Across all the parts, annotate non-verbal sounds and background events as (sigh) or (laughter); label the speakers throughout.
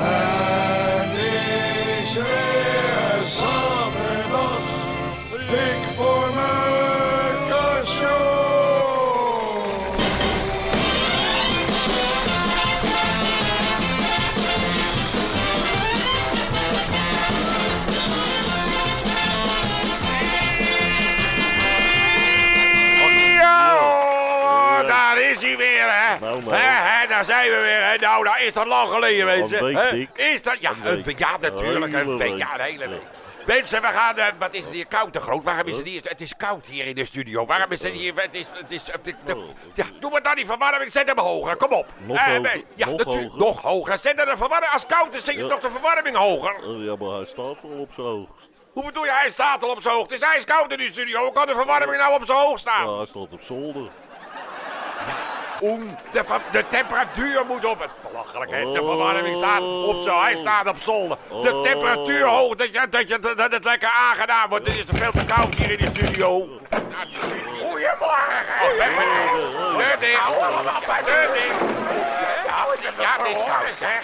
Speaker 1: Het is weer zaterdag, dik voor mijn kastje.
Speaker 2: Ja, hoor, daar is hij weer, hè.
Speaker 3: Nou, nou.
Speaker 2: hè, hè, daar zijn we weer, hè. Nou, daar is dat lang geleden, mensen.
Speaker 3: week,
Speaker 2: hè.
Speaker 3: Dick.
Speaker 2: Is dat? Ja,
Speaker 3: Een
Speaker 2: een
Speaker 3: week.
Speaker 2: week. Ja, natuurlijk,
Speaker 3: Hele
Speaker 2: een week.
Speaker 3: week.
Speaker 2: Ja, een hele
Speaker 3: Ja.
Speaker 2: week. Mensen, we gaan... eh, wat is het hier koud te groot? Waarom is het hier... Het is koud hier in de studio. Waarom is het hier... Het is... Het is, het is- de- ja, doe wat dan die verwarming. Zet hem hoger. Kom op.
Speaker 3: Oh. Nog
Speaker 2: Eh,
Speaker 3: hoger,
Speaker 2: nee, Ja,
Speaker 3: nog
Speaker 2: natuurlijk.
Speaker 3: hoger.
Speaker 2: Nog hoger. Zet er de verwarming... Als het koud is, zet je
Speaker 3: Ja.
Speaker 2: toch de verwarming hoger.
Speaker 3: Eh, Ja, maar hij staat al op zijn hoogst.
Speaker 2: Hoe bedoel je? Hij staat al op zijn hoogte. Het is ijskoud in die studio. Hoe kan de verwarming nou op zijn hoog staan?
Speaker 3: Ja, hij staat op zolder.
Speaker 2: Oem, de, ver- de temperatuur moet op. Het belachelijk, hè? De
Speaker 3: Oh.
Speaker 2: verwarming staat op zo. Hij staat op zolder. De
Speaker 3: Oh.
Speaker 2: temperatuur hoog, dat, je, dat, je, dat het lekker aangedaan wordt. Het is te veel te koud hier in de studio. Goedemorgen! Deur dicht! Deur dicht! Ja, ja, Nou, het is koud, zeg.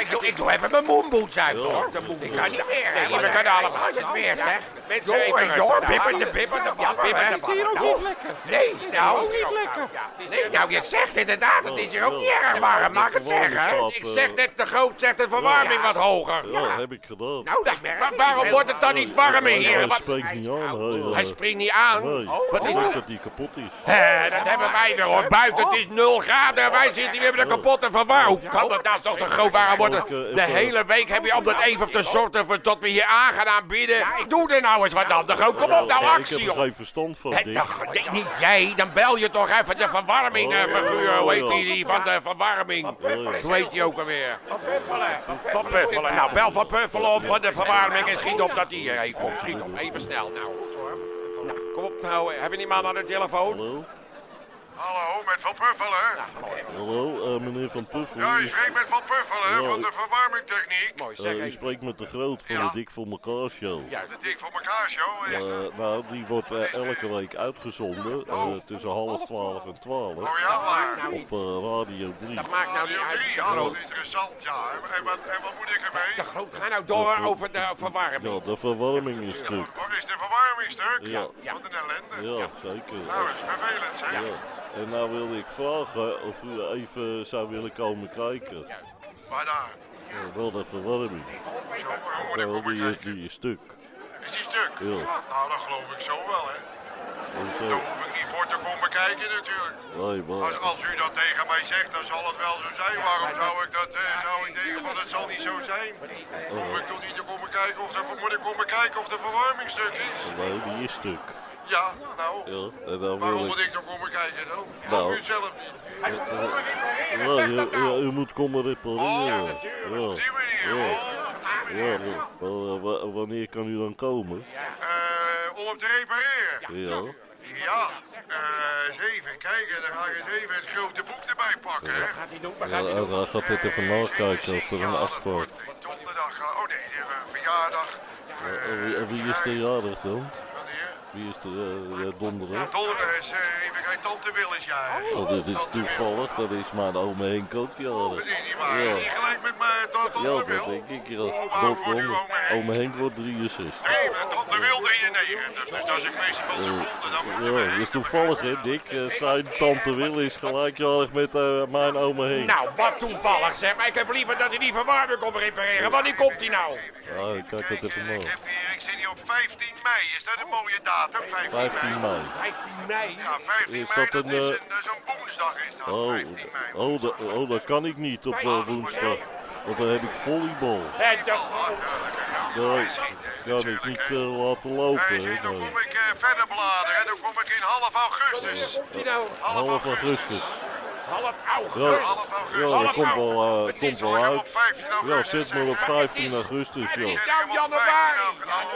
Speaker 2: ik, doe, ik doe even mijn moonboots uit, hoor. De ik kan niet meer, hè. we kunnen allemaal het weer, zeg. Mensen, even door. Pipper de pipper de Ja, pipper de
Speaker 4: Het is hier ook niet lekker.
Speaker 2: Nee, nou.
Speaker 4: ook niet lekker.
Speaker 2: Nee, nou, je zegt inderdaad, het is hier ook
Speaker 3: Ja,
Speaker 2: niet erg
Speaker 3: ja,
Speaker 2: warm,
Speaker 3: de
Speaker 2: mag ik het
Speaker 3: verwarming
Speaker 2: zeggen?
Speaker 3: staat,
Speaker 2: Ik
Speaker 3: eh,
Speaker 2: zeg net te groot, zet de verwarming wat hoger.
Speaker 3: Ja, heb ik gedaan.
Speaker 2: Nou, dat wa- waarom wordt het dan niet warm in
Speaker 3: Hij,
Speaker 2: hier?
Speaker 3: hij
Speaker 2: Wat-
Speaker 3: spreekt niet aan. Hij, eh,
Speaker 2: Hij springt niet aan.
Speaker 3: nee.
Speaker 2: Wat is
Speaker 3: Ik
Speaker 2: dat?
Speaker 3: denk dat hij kapot is.
Speaker 2: Hé, Eh, dat hebben wij weer hoor. Buiten het is 0 graden en wij zitten hier met een kapotte verwarring. Hoe kan dat nou toch te groot waren worden?
Speaker 3: Zal ik, eh,
Speaker 2: De
Speaker 3: even-
Speaker 2: hele week heb je om dat even te zorgen voor tot we hier aan gaan aanbieden. Doe er nou eens wat aan. Kom op nou,
Speaker 3: Ja, Ik
Speaker 2: actie
Speaker 3: heb er
Speaker 2: joh.
Speaker 3: geen verstand van,
Speaker 2: Hé,
Speaker 3: Dick.
Speaker 2: toch, nee, niet jij, dan bel je toch even de verwarming eh,
Speaker 3: Oh,
Speaker 2: figuur,
Speaker 3: ja,
Speaker 2: hoe heet
Speaker 3: ja.
Speaker 2: die, die van de verwarming?
Speaker 3: Puffelen
Speaker 2: Hoe heet die ook alweer? Van Puffelen. Nou, bel Van Puffelen op van de verwarming en schiet op dat hij hierheen komt. Schiet op, even snel nou. Nou, kom op nou, hebben die man aan de telefoon?
Speaker 3: Hallo?
Speaker 1: Hallo, met Van Puffelen.
Speaker 3: Hallo, eh, meneer Van Puffel.
Speaker 1: Ja,
Speaker 3: u
Speaker 1: je spreekt met Van Puffelen
Speaker 3: Ja.
Speaker 1: van de verwarmingtechniek.
Speaker 2: Mooi,
Speaker 3: eh,
Speaker 2: zeg
Speaker 3: u
Speaker 2: even.
Speaker 3: spreekt met de groot van
Speaker 1: Ja.
Speaker 3: de Dik voor elkaar show.
Speaker 1: De dik voor elkaar show is dat?
Speaker 3: Eh, nou, die wordt eh, elke week uitgezonden eh, tussen half twaalf en twaalf
Speaker 1: Oh ja, waar?
Speaker 3: op eh, Radio 3.
Speaker 2: nou Dat maakt nou niet
Speaker 1: Radio
Speaker 2: uit.
Speaker 1: 3, ja, dat is interessant, ja. En- En wat, en wat moet ik
Speaker 2: De
Speaker 1: ermee?
Speaker 2: groot, ga nou door over de
Speaker 3: Ja,
Speaker 2: verwarming.
Speaker 3: de verwarming is terug.
Speaker 1: Waar is de verwarming stuk?
Speaker 3: Ja.
Speaker 1: Wat een ellende.
Speaker 3: Ja, zeker.
Speaker 1: Nou, dat is vervelend, zeg.
Speaker 3: Ja. En nou wilde ik vragen of u even zou willen komen kijken.
Speaker 1: Maar daar,
Speaker 3: Eh, wel de verwarming.
Speaker 1: zo, waar moet ik
Speaker 3: Nou,
Speaker 1: komen
Speaker 3: die,
Speaker 1: kijken?
Speaker 3: die is stuk.
Speaker 1: Is die stuk?
Speaker 3: Ja.
Speaker 1: Nou, dat geloof ik zo wel, hè. Daar
Speaker 3: Hoezo?
Speaker 1: hoef ik niet voor te komen kijken, natuurlijk.
Speaker 3: Nee,
Speaker 1: Als,
Speaker 3: maar...
Speaker 1: als u dat tegen mij zegt, dan zal het wel zo zijn. Waarom zou ik dat eh, zou ik denken van het zal niet zo zijn? Hoef ik toch niet te komen kijken of de, moet ik komen kijken of de verwarming stuk is?
Speaker 3: Nee, die is stuk.
Speaker 1: Ja, nou.
Speaker 3: Ja, en dan
Speaker 1: Waarom
Speaker 3: wil
Speaker 1: moet
Speaker 3: ik...
Speaker 1: ik dan komen kijken dan?
Speaker 3: Nou.
Speaker 1: Of u het zelf niet?
Speaker 3: Ja, ja,
Speaker 2: nou.
Speaker 3: ja, u moet komen repareren.
Speaker 1: Oh,
Speaker 3: Ja,
Speaker 1: op die manier. Oh, op die
Speaker 3: ja.
Speaker 1: manier.
Speaker 3: ja. Eh, wa- wanneer kan u dan komen?
Speaker 1: Eh, om hem te repareren.
Speaker 3: Ja.
Speaker 1: Ja, eh, eens even kijken. Dan ga ik eens even het grote boek erbij pakken. hè. Eh,
Speaker 2: Gaat hij doen, wat gaat
Speaker 3: Ja,
Speaker 2: hij
Speaker 3: en
Speaker 2: doen?
Speaker 3: dan gaat het even nakijken of er een afspraak...
Speaker 1: Donderdag, oh nee, eh, verjaardag. Of, eh,
Speaker 3: Eh, wie- Wie is de
Speaker 1: vrij-
Speaker 3: jarig dan?
Speaker 1: Wanneer?
Speaker 3: Wie is de eh, eh, donderdag?
Speaker 1: Donderdag is eh, even kijken, tante Wil is ja.
Speaker 3: Oh, dit is toevallig, dat is mijn oom Henk ook jarig.
Speaker 1: Dat is niet waar. Is die
Speaker 3: Ja.
Speaker 1: gelijk met mijn eh, tante
Speaker 3: Ja,
Speaker 1: Wil?
Speaker 3: dat denk ik. eh, Ja. Oh,
Speaker 1: Hoe oud wordt uw oom Henk?
Speaker 3: Oom Henk wordt 63.
Speaker 1: Nee, maar tante Wil 93. Dus dat is een kwestie van seconden. Dan moeten we...
Speaker 3: Ja, dat is toevallig hè, Dick. Eh, Zijn tante Wil is gelijkjarig met eh, mijn oom Henk.
Speaker 2: Nou, wat toevallig zeg, maar ik heb liever dat hij die verwarming komt repareren. Wanneer komt hij nou?
Speaker 3: Ja, ik Ah, kijk het even
Speaker 1: Kijken, ik,
Speaker 3: na.
Speaker 1: heb hier, ik zit hier op 15 mei. Is dat een mooie datum? 15,
Speaker 3: 15 mei.
Speaker 2: 15 mei.
Speaker 1: Ja, 15
Speaker 3: Is
Speaker 1: mei,
Speaker 3: dat
Speaker 1: dat
Speaker 3: een,
Speaker 1: is
Speaker 3: eh,
Speaker 1: een, dat is een woensdag is dat.
Speaker 3: Oh,
Speaker 1: 15 mei.
Speaker 3: oh, dat, oh, dat kan ik niet op eh, woensdag. Want dan heb ik volleybal.
Speaker 2: En de-
Speaker 3: Nee, kan ik niet eh, laten lopen.
Speaker 1: Hey,
Speaker 3: hè,
Speaker 1: zie, dan
Speaker 3: nee.
Speaker 1: kom ik eh, verder bladeren en dan kom ik in half augustus.
Speaker 2: die nou,
Speaker 1: Half,
Speaker 3: Half augustus.
Speaker 2: half
Speaker 3: Ja,
Speaker 2: augustus.
Speaker 1: Half augustus.
Speaker 3: ja dat komt wel, eh, komt wel
Speaker 1: Zal ik hem op
Speaker 3: uit.
Speaker 1: 15
Speaker 3: Ja,
Speaker 1: augustus
Speaker 3: zit maar op
Speaker 1: zetten?
Speaker 3: 15 augustus,
Speaker 2: Het
Speaker 3: ja.
Speaker 2: is nou januari.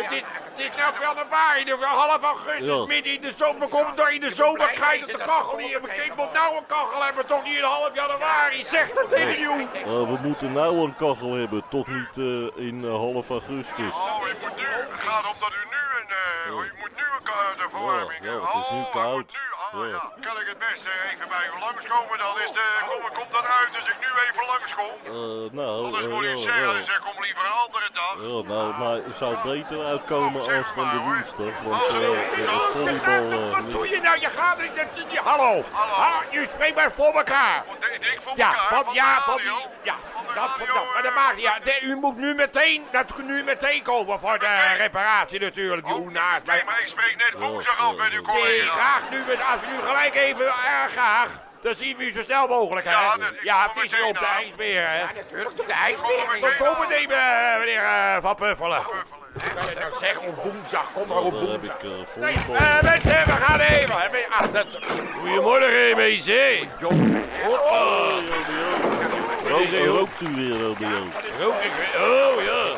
Speaker 2: Het is- Het is nou januari, dus half augustus,
Speaker 3: Ja.
Speaker 2: midden in de zomer. Komt door in de zomer, krijg je de kachel hier. Ik moet nou een kachel hebben, toch niet in half januari. Zeg dat tegen jou.
Speaker 3: Eh, we moeten nou een kachel hebben, toch niet eh, in eh, half augustus.
Speaker 1: Oh, u moet nu. Het gaat om dat oh, u nu een. eh, u moet nu een ka- de verwarming.
Speaker 3: Oh. ja,
Speaker 1: hebben.
Speaker 3: het is nu
Speaker 1: Oh, u
Speaker 3: koud.
Speaker 1: moet nu- oh, ja, ja. Kan ik het beste even bij u langskomen? Dan is de,
Speaker 3: Oh.
Speaker 1: kom, komt dat uit als ik nu even langskom.
Speaker 3: Eh, nou,
Speaker 1: Anders
Speaker 3: eh,
Speaker 1: moet u het
Speaker 3: ja,
Speaker 1: zeggen,
Speaker 3: ja.
Speaker 1: zeg kom liever een andere dag.
Speaker 3: Ja, nou, maar het zou beter uitkomen
Speaker 1: Oh, zeg
Speaker 3: als van
Speaker 1: maar,
Speaker 3: de
Speaker 1: hoor.
Speaker 3: woensdag. Want
Speaker 1: Als er
Speaker 3: eh,
Speaker 1: nog iets
Speaker 3: eh,
Speaker 1: aan-
Speaker 3: volleybal... eh,
Speaker 2: (laughs) Wat doe je nou? Je gaat er niet... je- Hallo.
Speaker 1: Hallo.
Speaker 2: Hallo. Je spreekt maar voor elkaar.
Speaker 1: Want ik denk voor
Speaker 2: Ja,
Speaker 1: elkaar,
Speaker 2: van,
Speaker 1: van
Speaker 2: ja,
Speaker 1: de
Speaker 2: van die...
Speaker 1: radio.
Speaker 2: Ja,
Speaker 1: van de
Speaker 2: dat,
Speaker 1: radio,
Speaker 2: dat, maar dat
Speaker 1: eh,
Speaker 2: maakt niet uit. Nee, U moet nu meteen, dat, nu meteen komen voor de
Speaker 1: Meteen.
Speaker 2: reparatie natuurlijk. Die
Speaker 1: Oh,
Speaker 2: hoenaast.
Speaker 1: nee, maar ik spreek
Speaker 3: Oh,
Speaker 1: net woensdag af met uw
Speaker 2: Nee,
Speaker 1: collega.
Speaker 2: graag nu, met- als we nu gelijk even, eh, graag. Dan zien we u zo snel mogelijk, hè?
Speaker 1: Ja, dat- ik
Speaker 2: ja
Speaker 1: kom
Speaker 2: het is
Speaker 1: meteen
Speaker 2: hier op de
Speaker 1: aan.
Speaker 2: ijsbeer, hè? Ja, natuurlijk, op de
Speaker 1: ijsbeer. kom
Speaker 2: Tot
Speaker 1: meteen aan.
Speaker 2: zometeen, eh, meneer eh, Van Puffelen.
Speaker 1: Buffelen.
Speaker 2: Nou, zeg, op woensdag, kom maar op
Speaker 3: Dan heb
Speaker 2: woensdag.
Speaker 3: ik eh,
Speaker 2: Nee,
Speaker 3: volleybal.
Speaker 2: eh, mensen, we gaan even. hè, we- ah, dat... Goedemorgen, MEC.
Speaker 3: Oh, Romeo. Rook- Rookt u weer, Romeo?
Speaker 2: Rook ik weer- Oh ja.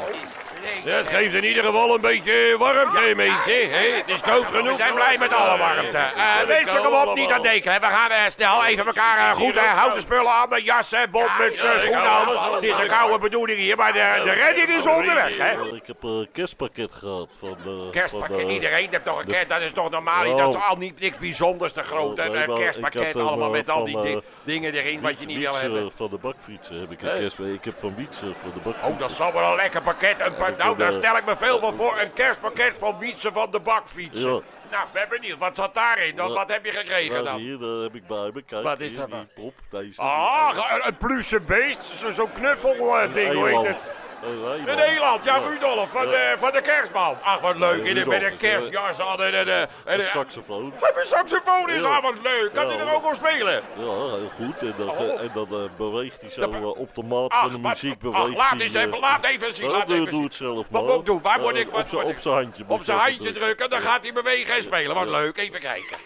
Speaker 2: Ja, het geeft in ieder geval een beetje warmte mee, zeg. Hè? Het is koud genoeg. We zijn blij met alle warmte. Eh, mensen, kom op, niet aan denken. hè. We gaan eh, snel even elkaar eh, goed eh, houden. Spullen aan, de jassen, bondmutsen, schoenen aan. Het is een koude bedoeling hier, maar de, de redding is onderweg. Hè?
Speaker 3: Eh, Ik heb een kerstpakket gehad van... eh, van,
Speaker 2: Kerstpakket,
Speaker 3: eh,
Speaker 2: iedereen heeft toch een kerst. Dat Oh. is toch normaal? niet? Dat is al niet niks bijzonders, te groot. Een eh, kerstpakket, allemaal met al die di- dingen erin wat je niet wil
Speaker 3: Wietsen
Speaker 2: hebben. Eh.
Speaker 3: Van de bakfietsen heb ik een kerstpakket. Ik heb van Wietsen van de bakfietsen.
Speaker 2: Oh, dat zal wel een lekker pakket. Een pa- nou,
Speaker 3: heb,
Speaker 2: daar
Speaker 3: eh,
Speaker 2: stel ik me veel van voor. Een kerstpakket van Wietse van de Bakfietsen.
Speaker 3: Ja.
Speaker 2: Nou, ben benieuwd. Wat zat daarin? Dan,
Speaker 3: Ja.
Speaker 2: wat heb je gekregen
Speaker 3: Nou,
Speaker 2: dan?
Speaker 3: hier eh, heb ik bij me. Kijk,
Speaker 2: Wat is
Speaker 3: hier,
Speaker 2: dat
Speaker 3: die
Speaker 2: dan?
Speaker 3: prop, deze.
Speaker 2: Ah, ge- een, een pluche beest. Zo- Zo'n knuffelding, hoe heet
Speaker 3: Eiland.
Speaker 2: het?
Speaker 3: Een eiland.
Speaker 2: In Nederland, ja, Rudolf, van,
Speaker 3: Ja.
Speaker 2: de, van de kerstman. Ach, wat leuk.
Speaker 3: Ja,
Speaker 2: in de, met een
Speaker 3: Rudolf is, eh,
Speaker 2: kerstjas aan en en, eh, en,
Speaker 3: Een
Speaker 2: eh,
Speaker 3: saxofoon.
Speaker 2: Met mijn saxofoon is
Speaker 3: Ja.
Speaker 2: aan, wat leuk. Kan
Speaker 3: Ja,
Speaker 2: hij er
Speaker 3: hoor.
Speaker 2: ook op spelen?
Speaker 3: Ja, heel goed. En dat,
Speaker 2: Oh.
Speaker 3: eh, en dat eh, beweegt hij zo
Speaker 2: be-
Speaker 3: eh, op de maat
Speaker 2: Ach,
Speaker 3: van de
Speaker 2: wat-
Speaker 3: muziek.
Speaker 2: ach,
Speaker 3: Beweegt
Speaker 2: laat
Speaker 3: hij,
Speaker 2: eens
Speaker 3: eh,
Speaker 2: even- laat even zien,
Speaker 3: eh,
Speaker 2: laat
Speaker 3: doe,
Speaker 2: even
Speaker 3: doe
Speaker 2: zien.
Speaker 3: het zelf
Speaker 2: Wat
Speaker 3: maar.
Speaker 2: moet ik doen? Waar moet
Speaker 3: Eh,
Speaker 2: ik- wat
Speaker 3: op zijn-
Speaker 2: moet
Speaker 3: Op
Speaker 2: ik-
Speaker 3: zijn handje. moet
Speaker 2: Op
Speaker 3: je
Speaker 2: zijn
Speaker 3: even
Speaker 2: handje drukken, dan
Speaker 3: Ja.
Speaker 2: gaat hij bewegen en spelen. Wat
Speaker 3: Ja.
Speaker 2: leuk. Even kijken.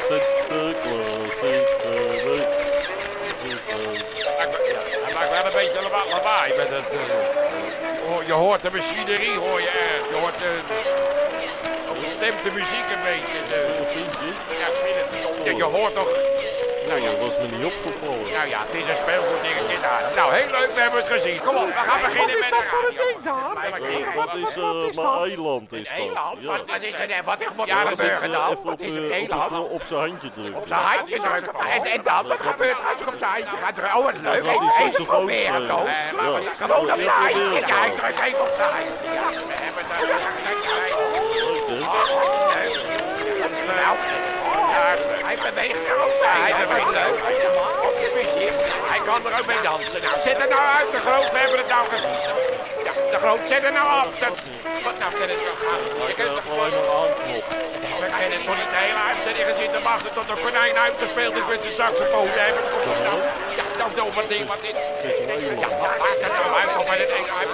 Speaker 3: Sinterklaas is er weer.
Speaker 2: Hij maakt- ja, Hij maakt wel een beetje laba- lawaai met het. eh, hoor- je hoort de machinerie, hoor je erg. Je hoort de. ook de stemt de muziek een beetje. de-
Speaker 3: Wat vind je?
Speaker 2: ja, ik vind het- ja, je hoort toch. Nou ja,
Speaker 3: Dat was me niet opgevallen.
Speaker 2: nou ja, het is een speelgoedding. het is daar. Nou, heel leuk, we hebben het gezien. Kom op, we gaan beginnen met de radio.
Speaker 3: Eh, Dat is eh, maar eiland is dat.
Speaker 2: Eiland?
Speaker 3: Ja.
Speaker 2: Wat is er? Wat is
Speaker 3: Ja,
Speaker 2: er
Speaker 3: als ik,
Speaker 2: gebeuren
Speaker 3: eh,
Speaker 2: dan?
Speaker 3: even
Speaker 2: Wat
Speaker 3: op,
Speaker 2: is
Speaker 3: eh,
Speaker 2: het
Speaker 3: op het-
Speaker 2: Nederland?
Speaker 3: op zijn handje drukken.
Speaker 2: Zijn handje drukken. En, en dan? Wat gebeurt er als je op zijn handje gaat drukken? Oh, wat leuk.
Speaker 3: Ja, die
Speaker 2: Even- Even
Speaker 3: saxofoon
Speaker 2: proberen,
Speaker 3: spelen.
Speaker 2: Koos.
Speaker 3: Ja.
Speaker 2: Ja, Gewoon op zijn handje. nou Ja, ik druk even op zijn handje. Ja, we hebben daar- daar- daar- daar-
Speaker 3: Leuk, hè?
Speaker 2: Nou, ja, Hij beweegt er ook bij. Hij beweegt leuk. Op de muziek. Hij kan er ook mee dansen. Nou, zet het nou uit, de groot. We hebben het nou gezien. Ja, de groot, zet het nou af. Dat- Wat nou, kan het wel gaan? Je
Speaker 3: Ik
Speaker 2: kunt
Speaker 3: heb
Speaker 2: toch
Speaker 3: alleen maar aanknop.
Speaker 2: we kennen toch niet de hele uitzending gezien te wachten tot een konijn uitgespeeld is met zijn saxofoon. Hè? Wat komt er nou? Ja, nou, nou, wat ding, wat dit. Ja, wat maakt het nou uit? Of hij het eng uit?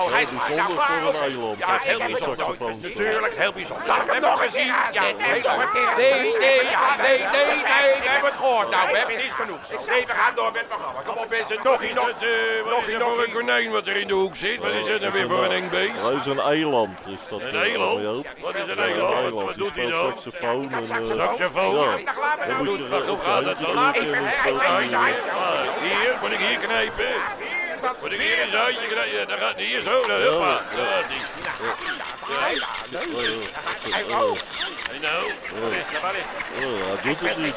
Speaker 2: Oh, hij is
Speaker 3: Heel bijzonder
Speaker 2: nou,
Speaker 3: voor een
Speaker 2: waarom-
Speaker 3: eiland.
Speaker 2: Ja,
Speaker 3: Dat
Speaker 2: heel
Speaker 3: is een
Speaker 2: bijzonder.
Speaker 3: saxofoon.
Speaker 2: Natuurlijk, heel bijzonder. Zal ik hem nog eens zien? Ja, heel leuk. Nee, nee, ja, nee, nee, nee. We hebben het gehoord. Nou, we hebben het is genoeg. Nee, we gaan door met het programma. Kom op, mensen. Nog hier, nog. Nog hier, nog een konijn wat er in de hoek zit. Wat
Speaker 3: Oh, Dat Oh, is een eiland, is dat.
Speaker 2: Een
Speaker 3: eh,
Speaker 2: eiland?
Speaker 3: Romeo.
Speaker 2: Wat is een
Speaker 3: Ja, een
Speaker 2: eiland?
Speaker 3: eiland.
Speaker 2: Wat
Speaker 3: Die
Speaker 2: doet hij
Speaker 3: speelt
Speaker 2: nou?
Speaker 3: saxofoon en... eh,
Speaker 2: Saxofoon?
Speaker 3: Ja.
Speaker 2: Ja, laat me
Speaker 3: Dan
Speaker 2: nou
Speaker 3: moet
Speaker 2: doen.
Speaker 3: je eh, op zijn handje drukken en dan speelt hij, eh,
Speaker 2: Hier, moet ik hier knijpen? Moet ik hier eens handje knijpen? Dan gaat hier zo, dan huppa. Dan gaat die. En nou,
Speaker 3: eh, Hij doet het niet.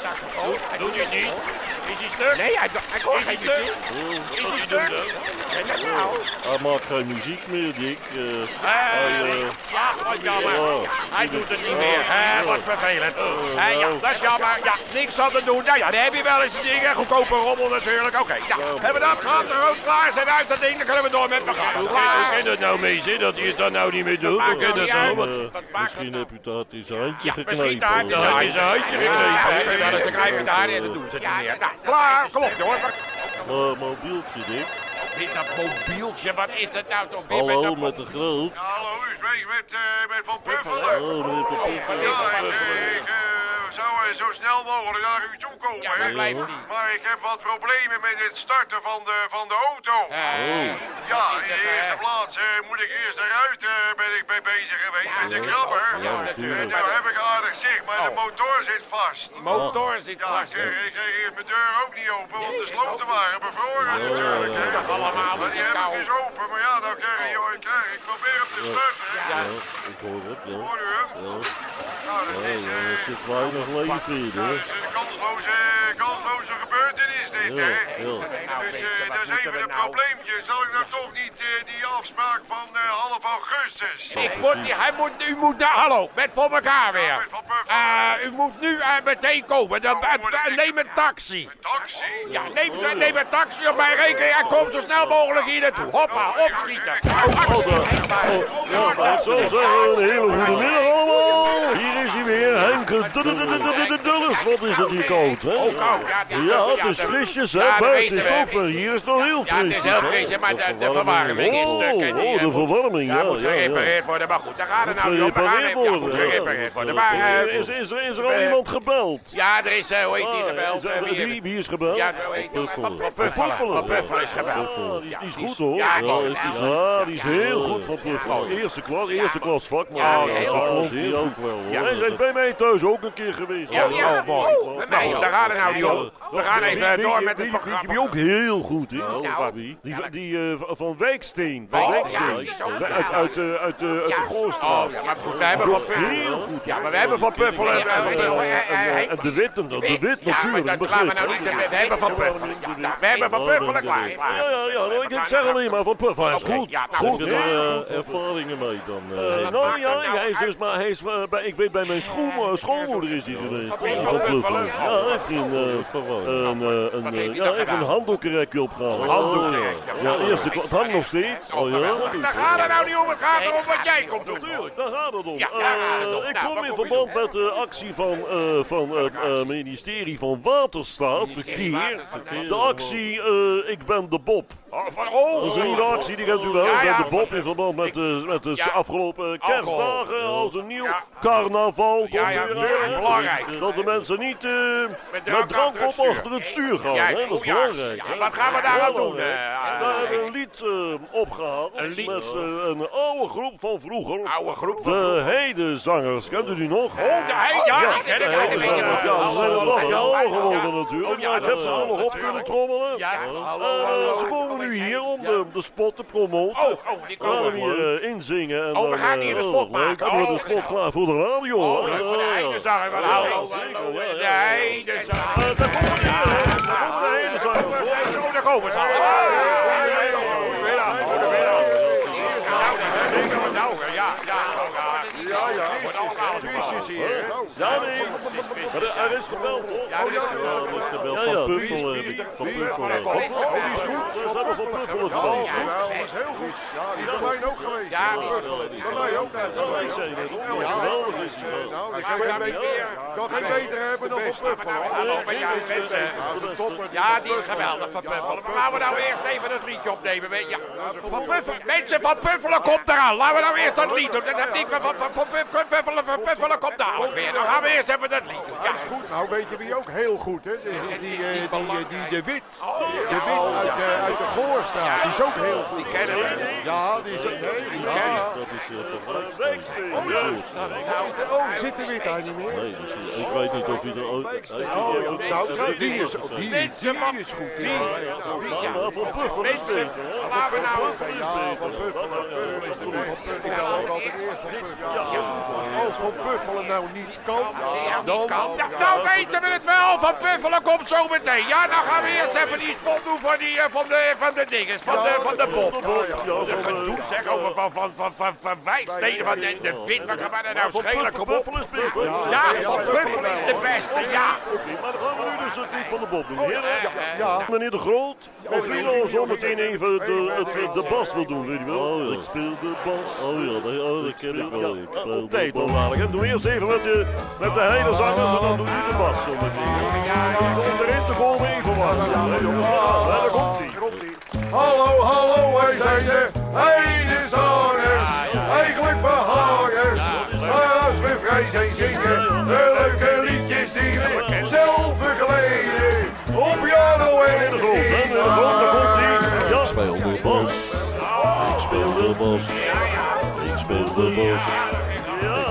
Speaker 2: doet hij het niet? Is hij stuk?
Speaker 4: Nee, hij, hij hoort
Speaker 2: Is hij
Speaker 4: geen muziek.
Speaker 2: stuk?
Speaker 3: Eh,
Speaker 2: Wat moet hij doen dan?
Speaker 3: Hij maakt geen muziek meer, Dick. Eh, hij, eh,
Speaker 2: Ja, wat jammer.
Speaker 3: Oh.
Speaker 2: Hij doet het niet meer. Hè, wat vervelend. Hé, ja,
Speaker 3: nou.
Speaker 2: dat is jammer. Ja, niks aan te doen. Nou ja, dan heb je wel eens die dingen. Goedkope rommel natuurlijk. Oké, nou, hebben we dat gehad? De rood klaar zijn uit dat ding. Dan kunnen we door met elkaar.
Speaker 1: Hoe kan dat nou mee zitten dat hij het dan nou niet meer doet? Hoe
Speaker 2: maakt
Speaker 1: kan
Speaker 2: nou
Speaker 1: dat
Speaker 2: niet
Speaker 1: nou?
Speaker 2: uit.
Speaker 1: Wat-
Speaker 3: eh,
Speaker 2: Wat maakt
Speaker 3: misschien
Speaker 2: dat
Speaker 3: heb je dat in zijn handje geknepen.
Speaker 2: Misschien daar in zijn
Speaker 1: Hij
Speaker 2: handje.
Speaker 1: is een handje
Speaker 2: Ja,
Speaker 1: geknepen.
Speaker 2: we hebben ze krijgen daar en dat doen ze niet meer. Nou, klaar, kom op jongen.
Speaker 3: Eh, mobieltje, Dick.
Speaker 2: Dit dat mobieltje, wat is dat nou toch weer met
Speaker 3: Hallo
Speaker 2: dat
Speaker 3: met de groot.
Speaker 1: Ja, Hallo, u spreekt met, eh, met Van Puffelen.
Speaker 3: Oh, meneer Van Poppelen.
Speaker 1: Ja, ik, eh, ik eh, zou eens zo snel mogelijk naar u toe komen.
Speaker 2: Ja, waar
Speaker 1: hè?
Speaker 2: blijft die?
Speaker 1: Maar ik heb wat problemen met het starten van de, van de auto.
Speaker 3: Oh,
Speaker 2: Eh,
Speaker 1: Ja, in de
Speaker 2: eh,
Speaker 1: eerste plaats eh, moet ik eerst de ruiten eh, ben ik mee bezig geweest. En de krabber.
Speaker 3: Ja, natuurlijk.
Speaker 1: en nou heb ik aardig zicht, maar de
Speaker 2: Oh.
Speaker 1: motor zit vast.
Speaker 3: Oh.
Speaker 2: Motor zit
Speaker 1: Ja, eh, ik
Speaker 2: vast.
Speaker 1: kreeg, ik kreeg eerst mijn deur ook niet open, want de sloten waren bevroren natuurlijk. hè.
Speaker 2: Dat allemaal
Speaker 1: Maar die
Speaker 2: met
Speaker 1: heb ik
Speaker 2: kou.
Speaker 1: dus open, maar ja, nou krijg je, joh, ik krijg, ik probeer hem te sluiten.
Speaker 3: Ja, ik hoor het, ja.
Speaker 1: Hoor u hem?
Speaker 3: Ja,
Speaker 1: Nou, dat
Speaker 3: ja,
Speaker 1: is, eh,
Speaker 3: Oh, er zit weinig leven in,
Speaker 1: ja, dat
Speaker 3: hè.
Speaker 1: is een kansloze, kansloze gebeurtenis dit,
Speaker 3: Ja,
Speaker 1: hè.
Speaker 3: ja.
Speaker 2: Nou,
Speaker 1: Dus
Speaker 2: mensen,
Speaker 1: eh,
Speaker 2: wat
Speaker 1: dat is
Speaker 2: moeten we
Speaker 1: even een
Speaker 2: nou?
Speaker 1: probleempje. Zal ik nou toch niet eh, die afspraak van eh, half augustus?
Speaker 2: Ik moet, niet- hij moet, u moet naar, hallo, met voor elkaar
Speaker 1: Ja,
Speaker 2: weer.
Speaker 1: met Van Puff.
Speaker 2: Eh, u moet nu eh, meteen komen. Dan,
Speaker 1: Nou, hoe
Speaker 2: eh,
Speaker 1: moet ik-
Speaker 2: neem een taxi.
Speaker 1: Een taxi?
Speaker 2: Ja, neem,
Speaker 3: Oh.
Speaker 2: zo- neem een taxi op mijn rekening en kom zo snel mogelijk hier naartoe. Hoppa, opschieten. Oh,
Speaker 3: Oh,
Speaker 2: actie.
Speaker 3: oh, ja, maar ik zal zeggen, een hele goede middag allemaal. Hier is hij weer, Henk de- de- de- de- de- de- Dulles. Wat is het hier koud, hè?
Speaker 2: Oh, koud, ja, ja,
Speaker 3: Ja,
Speaker 2: ja,
Speaker 3: het is
Speaker 2: dat-
Speaker 3: frisjes, hè?
Speaker 2: ja, dat
Speaker 3: Buiten
Speaker 2: weten
Speaker 3: is
Speaker 2: we.
Speaker 3: ook wel- Hier is het nog heel
Speaker 2: Ja, het
Speaker 3: frisjes.
Speaker 2: is heel
Speaker 3: hè?
Speaker 2: frisjes, maar de, de
Speaker 3: verwarming.
Speaker 2: verwarming is
Speaker 3: Oh,
Speaker 2: stuk. en die,
Speaker 3: oh,
Speaker 2: eh,
Speaker 3: de
Speaker 2: moet-
Speaker 3: verwarming,
Speaker 2: Ja,
Speaker 3: ja.
Speaker 2: moet
Speaker 3: ja, ja.
Speaker 2: gerepareerd worden, maar goed, daar gaat het nou niet om. We gaan
Speaker 3: Gerepareerd
Speaker 2: even- Ja,
Speaker 3: worden.
Speaker 2: moet
Speaker 3: ja.
Speaker 2: gerepareerd worden. Maar,
Speaker 3: Gerepareerd.
Speaker 2: eh,
Speaker 3: Is, is, er- is er al iemand gebeld?
Speaker 2: ja, er is, eh, hoe heet die
Speaker 3: Ah,
Speaker 2: gebeld?
Speaker 3: is er-
Speaker 2: eh, wie-
Speaker 3: wie, wie is gebeld?
Speaker 2: Ja, zo heet hij.
Speaker 3: Puffelen.
Speaker 2: Van Puffelen.
Speaker 3: Van
Speaker 2: Van Puffelen is gebeld.
Speaker 3: Ah, die is, die
Speaker 2: Ja, die is-
Speaker 3: is goed hoor.
Speaker 2: ja, die is
Speaker 3: is die,
Speaker 2: geweldig.
Speaker 3: ja, die is
Speaker 2: Ja,
Speaker 3: heel
Speaker 2: ja.
Speaker 3: goed van Puffelen.
Speaker 2: Ja.
Speaker 3: Eerste klas, eerste
Speaker 2: maar-
Speaker 3: klas vakman.
Speaker 2: Ja,
Speaker 3: Ah,
Speaker 2: heel
Speaker 3: dat
Speaker 2: goed.
Speaker 3: klopt hier ook wel hoor. Hij is bij mij thuis ook een keer geweest.
Speaker 2: Ja,
Speaker 3: hoor.
Speaker 2: ja.
Speaker 3: Oh, man.
Speaker 2: Oh, bij mij ook. Daar gaan we nou niet om. We gaan even eh, door met het
Speaker 3: Die
Speaker 2: programma.
Speaker 3: ook heel goed is.
Speaker 2: Nou.
Speaker 3: Die, die, eh, van Wijksteen.
Speaker 2: Oh,
Speaker 3: Van
Speaker 2: ja,
Speaker 3: Wijksteen.
Speaker 2: die is ook
Speaker 3: Uit- Uit uit de- uit de uit de
Speaker 2: Ja.
Speaker 3: Goorstraat.
Speaker 2: Oh, ja, maar goed, wij hebben Van
Speaker 3: Heel
Speaker 2: Puffelen.
Speaker 3: goed.
Speaker 2: Ja, maar we hebben Van Puffelen.
Speaker 3: En,
Speaker 2: eh, van- eh, eh,
Speaker 3: en de wit, en de, de wit
Speaker 2: Ja, maar
Speaker 3: natuurlijk.
Speaker 2: dat gaan we nou
Speaker 3: begrepen.
Speaker 2: niet. We hebben Van Puffelen. Ja, We hebben Van Puffelen klaar. klaar.
Speaker 3: Ja, ja, ja. nou, Ik, ik zeg alleen maar van Puff. Hij is
Speaker 2: Oké,
Speaker 3: goed.
Speaker 2: ja, nou,
Speaker 3: goed. eh,
Speaker 2: goed.
Speaker 3: heel
Speaker 2: Ja,
Speaker 3: goed.
Speaker 4: ervaringen mee dan.
Speaker 3: Eh,
Speaker 4: eh.
Speaker 3: nou
Speaker 2: maakt
Speaker 3: ja,
Speaker 2: dat nou
Speaker 3: hij is
Speaker 2: uit?
Speaker 3: dus maar, hij is, eh, bij, ik weet bij mijn schoonmo- schoonmoeder is hij geweest.
Speaker 2: Van
Speaker 3: eh,
Speaker 2: Puffelen.
Speaker 3: Puffelen. Ja, hij heeft een, eh,
Speaker 4: Verwarring.
Speaker 3: een, eh, een,
Speaker 2: Wat
Speaker 3: eh,
Speaker 2: heeft hij
Speaker 3: ja,
Speaker 2: dan
Speaker 3: hij heeft een
Speaker 2: gedaan?
Speaker 3: handdoekenrekje opgehaald.
Speaker 2: Een handdoekenrek,
Speaker 3: Oh,
Speaker 2: ja.
Speaker 3: Ja, eerste klas. Het hangt nog steeds.
Speaker 2: Oh, geweldig. Daar gaat het nou niet om. Het gaat erom wat jij komt doen.
Speaker 3: Tuurlijk, daar gaat het om.
Speaker 2: Ja, daar gaat het om.
Speaker 3: Eh, ik
Speaker 2: Nou,
Speaker 3: kom
Speaker 2: wat
Speaker 3: in
Speaker 2: kom je
Speaker 3: verband
Speaker 2: doen?
Speaker 3: met de actie van het van, eh, eh, ministerie van Waterstaat,
Speaker 2: Ministerie
Speaker 3: verkeer.
Speaker 2: Waterstaat,
Speaker 3: De actie eh, Ik ben de Bob.
Speaker 2: Oh,
Speaker 3: Dat is een nieuwe actie, die kent u wel.
Speaker 2: Ja, ja.
Speaker 3: Ik ben de Bob in verband met de, met de
Speaker 2: Ja.
Speaker 3: afgelopen kerstdagen.
Speaker 2: Alcohol.
Speaker 3: Oud en nieuw.
Speaker 2: Ja.
Speaker 3: Carnaval komt
Speaker 2: Ja, ja,
Speaker 3: weer
Speaker 2: natuurlijk,
Speaker 3: aan, hè.
Speaker 2: belangrijk.
Speaker 3: Dat de mensen niet eh, met,
Speaker 2: drank
Speaker 3: drank
Speaker 2: achter
Speaker 3: op
Speaker 2: het
Speaker 3: achter het stuur gaan.
Speaker 2: Ja,
Speaker 3: hè. Dat is
Speaker 2: goeie
Speaker 3: belangrijk.
Speaker 2: actie. Ja,
Speaker 3: hè.
Speaker 2: wat gaan we daar aan doen,
Speaker 3: Belangrijk.
Speaker 2: eh,
Speaker 3: Daar hebben we
Speaker 2: Henk?
Speaker 3: een lied eh, opgehaald.
Speaker 2: Een lied.
Speaker 3: Met eh, een oude groep van vroeger.
Speaker 2: Oude groep van
Speaker 3: De heidezangers, kent u die nog?
Speaker 2: Oh, de heide, ja, ik ken het,
Speaker 3: de
Speaker 2: ik ken het.
Speaker 3: heidezangers. Ja, ze zijn
Speaker 2: Hallo,
Speaker 3: wel wat
Speaker 2: hallo,
Speaker 3: ouder
Speaker 2: hallo,
Speaker 3: geworden
Speaker 2: ja.
Speaker 3: natuurlijk.
Speaker 2: Oh, ja,
Speaker 3: Maar ik heb ze
Speaker 2: dat-
Speaker 3: allemaal op
Speaker 2: natuurlijk.
Speaker 3: kunnen trommelen.
Speaker 2: Ja,
Speaker 3: Eh,
Speaker 2: hallo,
Speaker 3: eh,
Speaker 2: hallo.
Speaker 3: Ze komen nu hier om de, de spot te promoten.
Speaker 2: Oh, oh, die
Speaker 3: We gaan
Speaker 2: komen.
Speaker 3: hem hier eh, inzingen. En
Speaker 2: Oh, we
Speaker 3: dan,
Speaker 2: gaan
Speaker 3: eh,
Speaker 2: hier een
Speaker 3: oh,
Speaker 2: spot
Speaker 3: leuk,
Speaker 2: maken.
Speaker 3: Dan
Speaker 2: Oh,
Speaker 3: wordt de spot
Speaker 2: gezellig.
Speaker 3: klaar voor de radio.
Speaker 2: Oh,
Speaker 3: hè.
Speaker 2: leuk, voor de
Speaker 3: Ja, ja.
Speaker 2: heidezanger, wat
Speaker 3: Ja,
Speaker 2: hallo,
Speaker 3: zeker,
Speaker 2: hallo,
Speaker 3: ja, ja.
Speaker 2: de heidezanger.
Speaker 3: Eh, Daar komen we hier. hè. Daar komen de heidezangers.
Speaker 2: Oh, daar komen ze al. Goedemiddag, goedemiddag. Hier gaan we douwen, ja, ja, ja. Ja, wordt allemaal
Speaker 1: Visjes hier. Nou,
Speaker 3: Ja, nee. Maar er- er is gebeld, hoor.
Speaker 2: Ja, er is gebeld.
Speaker 3: er is gebeld.
Speaker 4: Ja, ja.
Speaker 3: Van Puffelen. die- Van Puffelen.
Speaker 2: Oh, die is
Speaker 3: Ja, Ze hebben Van Puffelen
Speaker 1: dat
Speaker 3: gebeld.
Speaker 1: is heel goed. Ja, die is bij mij ook geweest.
Speaker 2: Ja, die is
Speaker 1: Bij mij ook. daar.
Speaker 3: Ja, ik zei net, hoor. Geweldig is die man.
Speaker 1: Nou, ik
Speaker 2: Maar
Speaker 1: kan
Speaker 2: we
Speaker 1: geen
Speaker 2: gaan
Speaker 1: beter-
Speaker 2: weer-
Speaker 1: ik kan geen beter hebben dan Van Puffelen.
Speaker 2: Nou,
Speaker 1: hoor.
Speaker 2: hallo, maar ja, mensen.
Speaker 1: Dat is een topper.
Speaker 2: Ja, die is geweldig, Van Puffelen. Maar laten we nou eerst even het liedje opnemen. weet je. Van Puffelen, mensen, Van Puffelen komt eraan. Laten we nou eerst dat lied doen. Dat heb ik van Van Van Puff- Van Puffelen, Van Puffelen komt eraan weer. Dan gaan we eerst even dat lied doen. Ja.
Speaker 1: Dat is goed. Nou, weet je wie ook heel goed hè? Dat is die, eh, die, eh, die De Wit.
Speaker 2: Oh,
Speaker 1: De Wit uit, eh, uit de Goorstraat. Die is ook heel goed.
Speaker 2: Die kennen we.
Speaker 1: Ja, die is ook... Nee, ja.
Speaker 4: Dat is eh, van
Speaker 3: Eh, Wijksteen, juist.
Speaker 1: Oh, zit De Wit daar niet meer?
Speaker 4: Nee, dus, eh, ik weet niet of hij er ooit... heeft hij die
Speaker 1: Oh,
Speaker 4: ooit-
Speaker 1: nou, die is, die, die is goed. Die,
Speaker 3: Ja, maar Van Puffelen is
Speaker 2: Mensen,
Speaker 3: beter, hè.
Speaker 2: laten we nou even...
Speaker 1: Ja, Van Buffelen. Buffelen is de beste. Ik hou ook altijd eerst van Buffelen. Als- Als Van Buffelen nou niet kan, dan...
Speaker 2: Ja, nou weten we het wel, Van Puffelen komt zo meteen. Ja, dan gaan we eerst even die spot doen van, die, eh, van de, van de dinges, van de, van de pop.
Speaker 3: Ja,
Speaker 2: Wat een
Speaker 3: van, eh,
Speaker 2: gedoe zeg over van, van, van, van, van Wijksteden, van de, de wit, wat kan mij dat nou
Speaker 3: Van
Speaker 2: schelen,
Speaker 3: Puffelen
Speaker 2: kom op.
Speaker 3: Puffelen is beter.
Speaker 2: Ja, Van Puffelen is de beste, ja.
Speaker 3: Oké, maar dan gaan we nu dus het lied van de Bob doen.
Speaker 4: Oh,
Speaker 3: Heren,
Speaker 2: Eh,
Speaker 1: Ja,
Speaker 3: Meneer de Groot, als u nou zo meteen even de, het, eh, de bas wil doen, weet u wel?
Speaker 4: Oh, ja.
Speaker 3: Ik speel de bas.
Speaker 4: Oh ja, dat, oh, dat ken ik wel. Ik
Speaker 3: Ja,
Speaker 4: speel
Speaker 3: op tijd
Speaker 4: de
Speaker 3: al
Speaker 4: bal.
Speaker 3: dadelijk. hè. Doe eerst even met de, met de heidezangers en dan doe je de bas zometeen. Om erin te komen even wachten. hè, jongens. Ja, daar komt hij.
Speaker 1: Hallo, hallo, wij zijn de heidezangers. Eigenlijk behangers. Maar als we vrij zijn zingen, de leuke liedjes die we
Speaker 3: bas. Ik speel de bas. Ik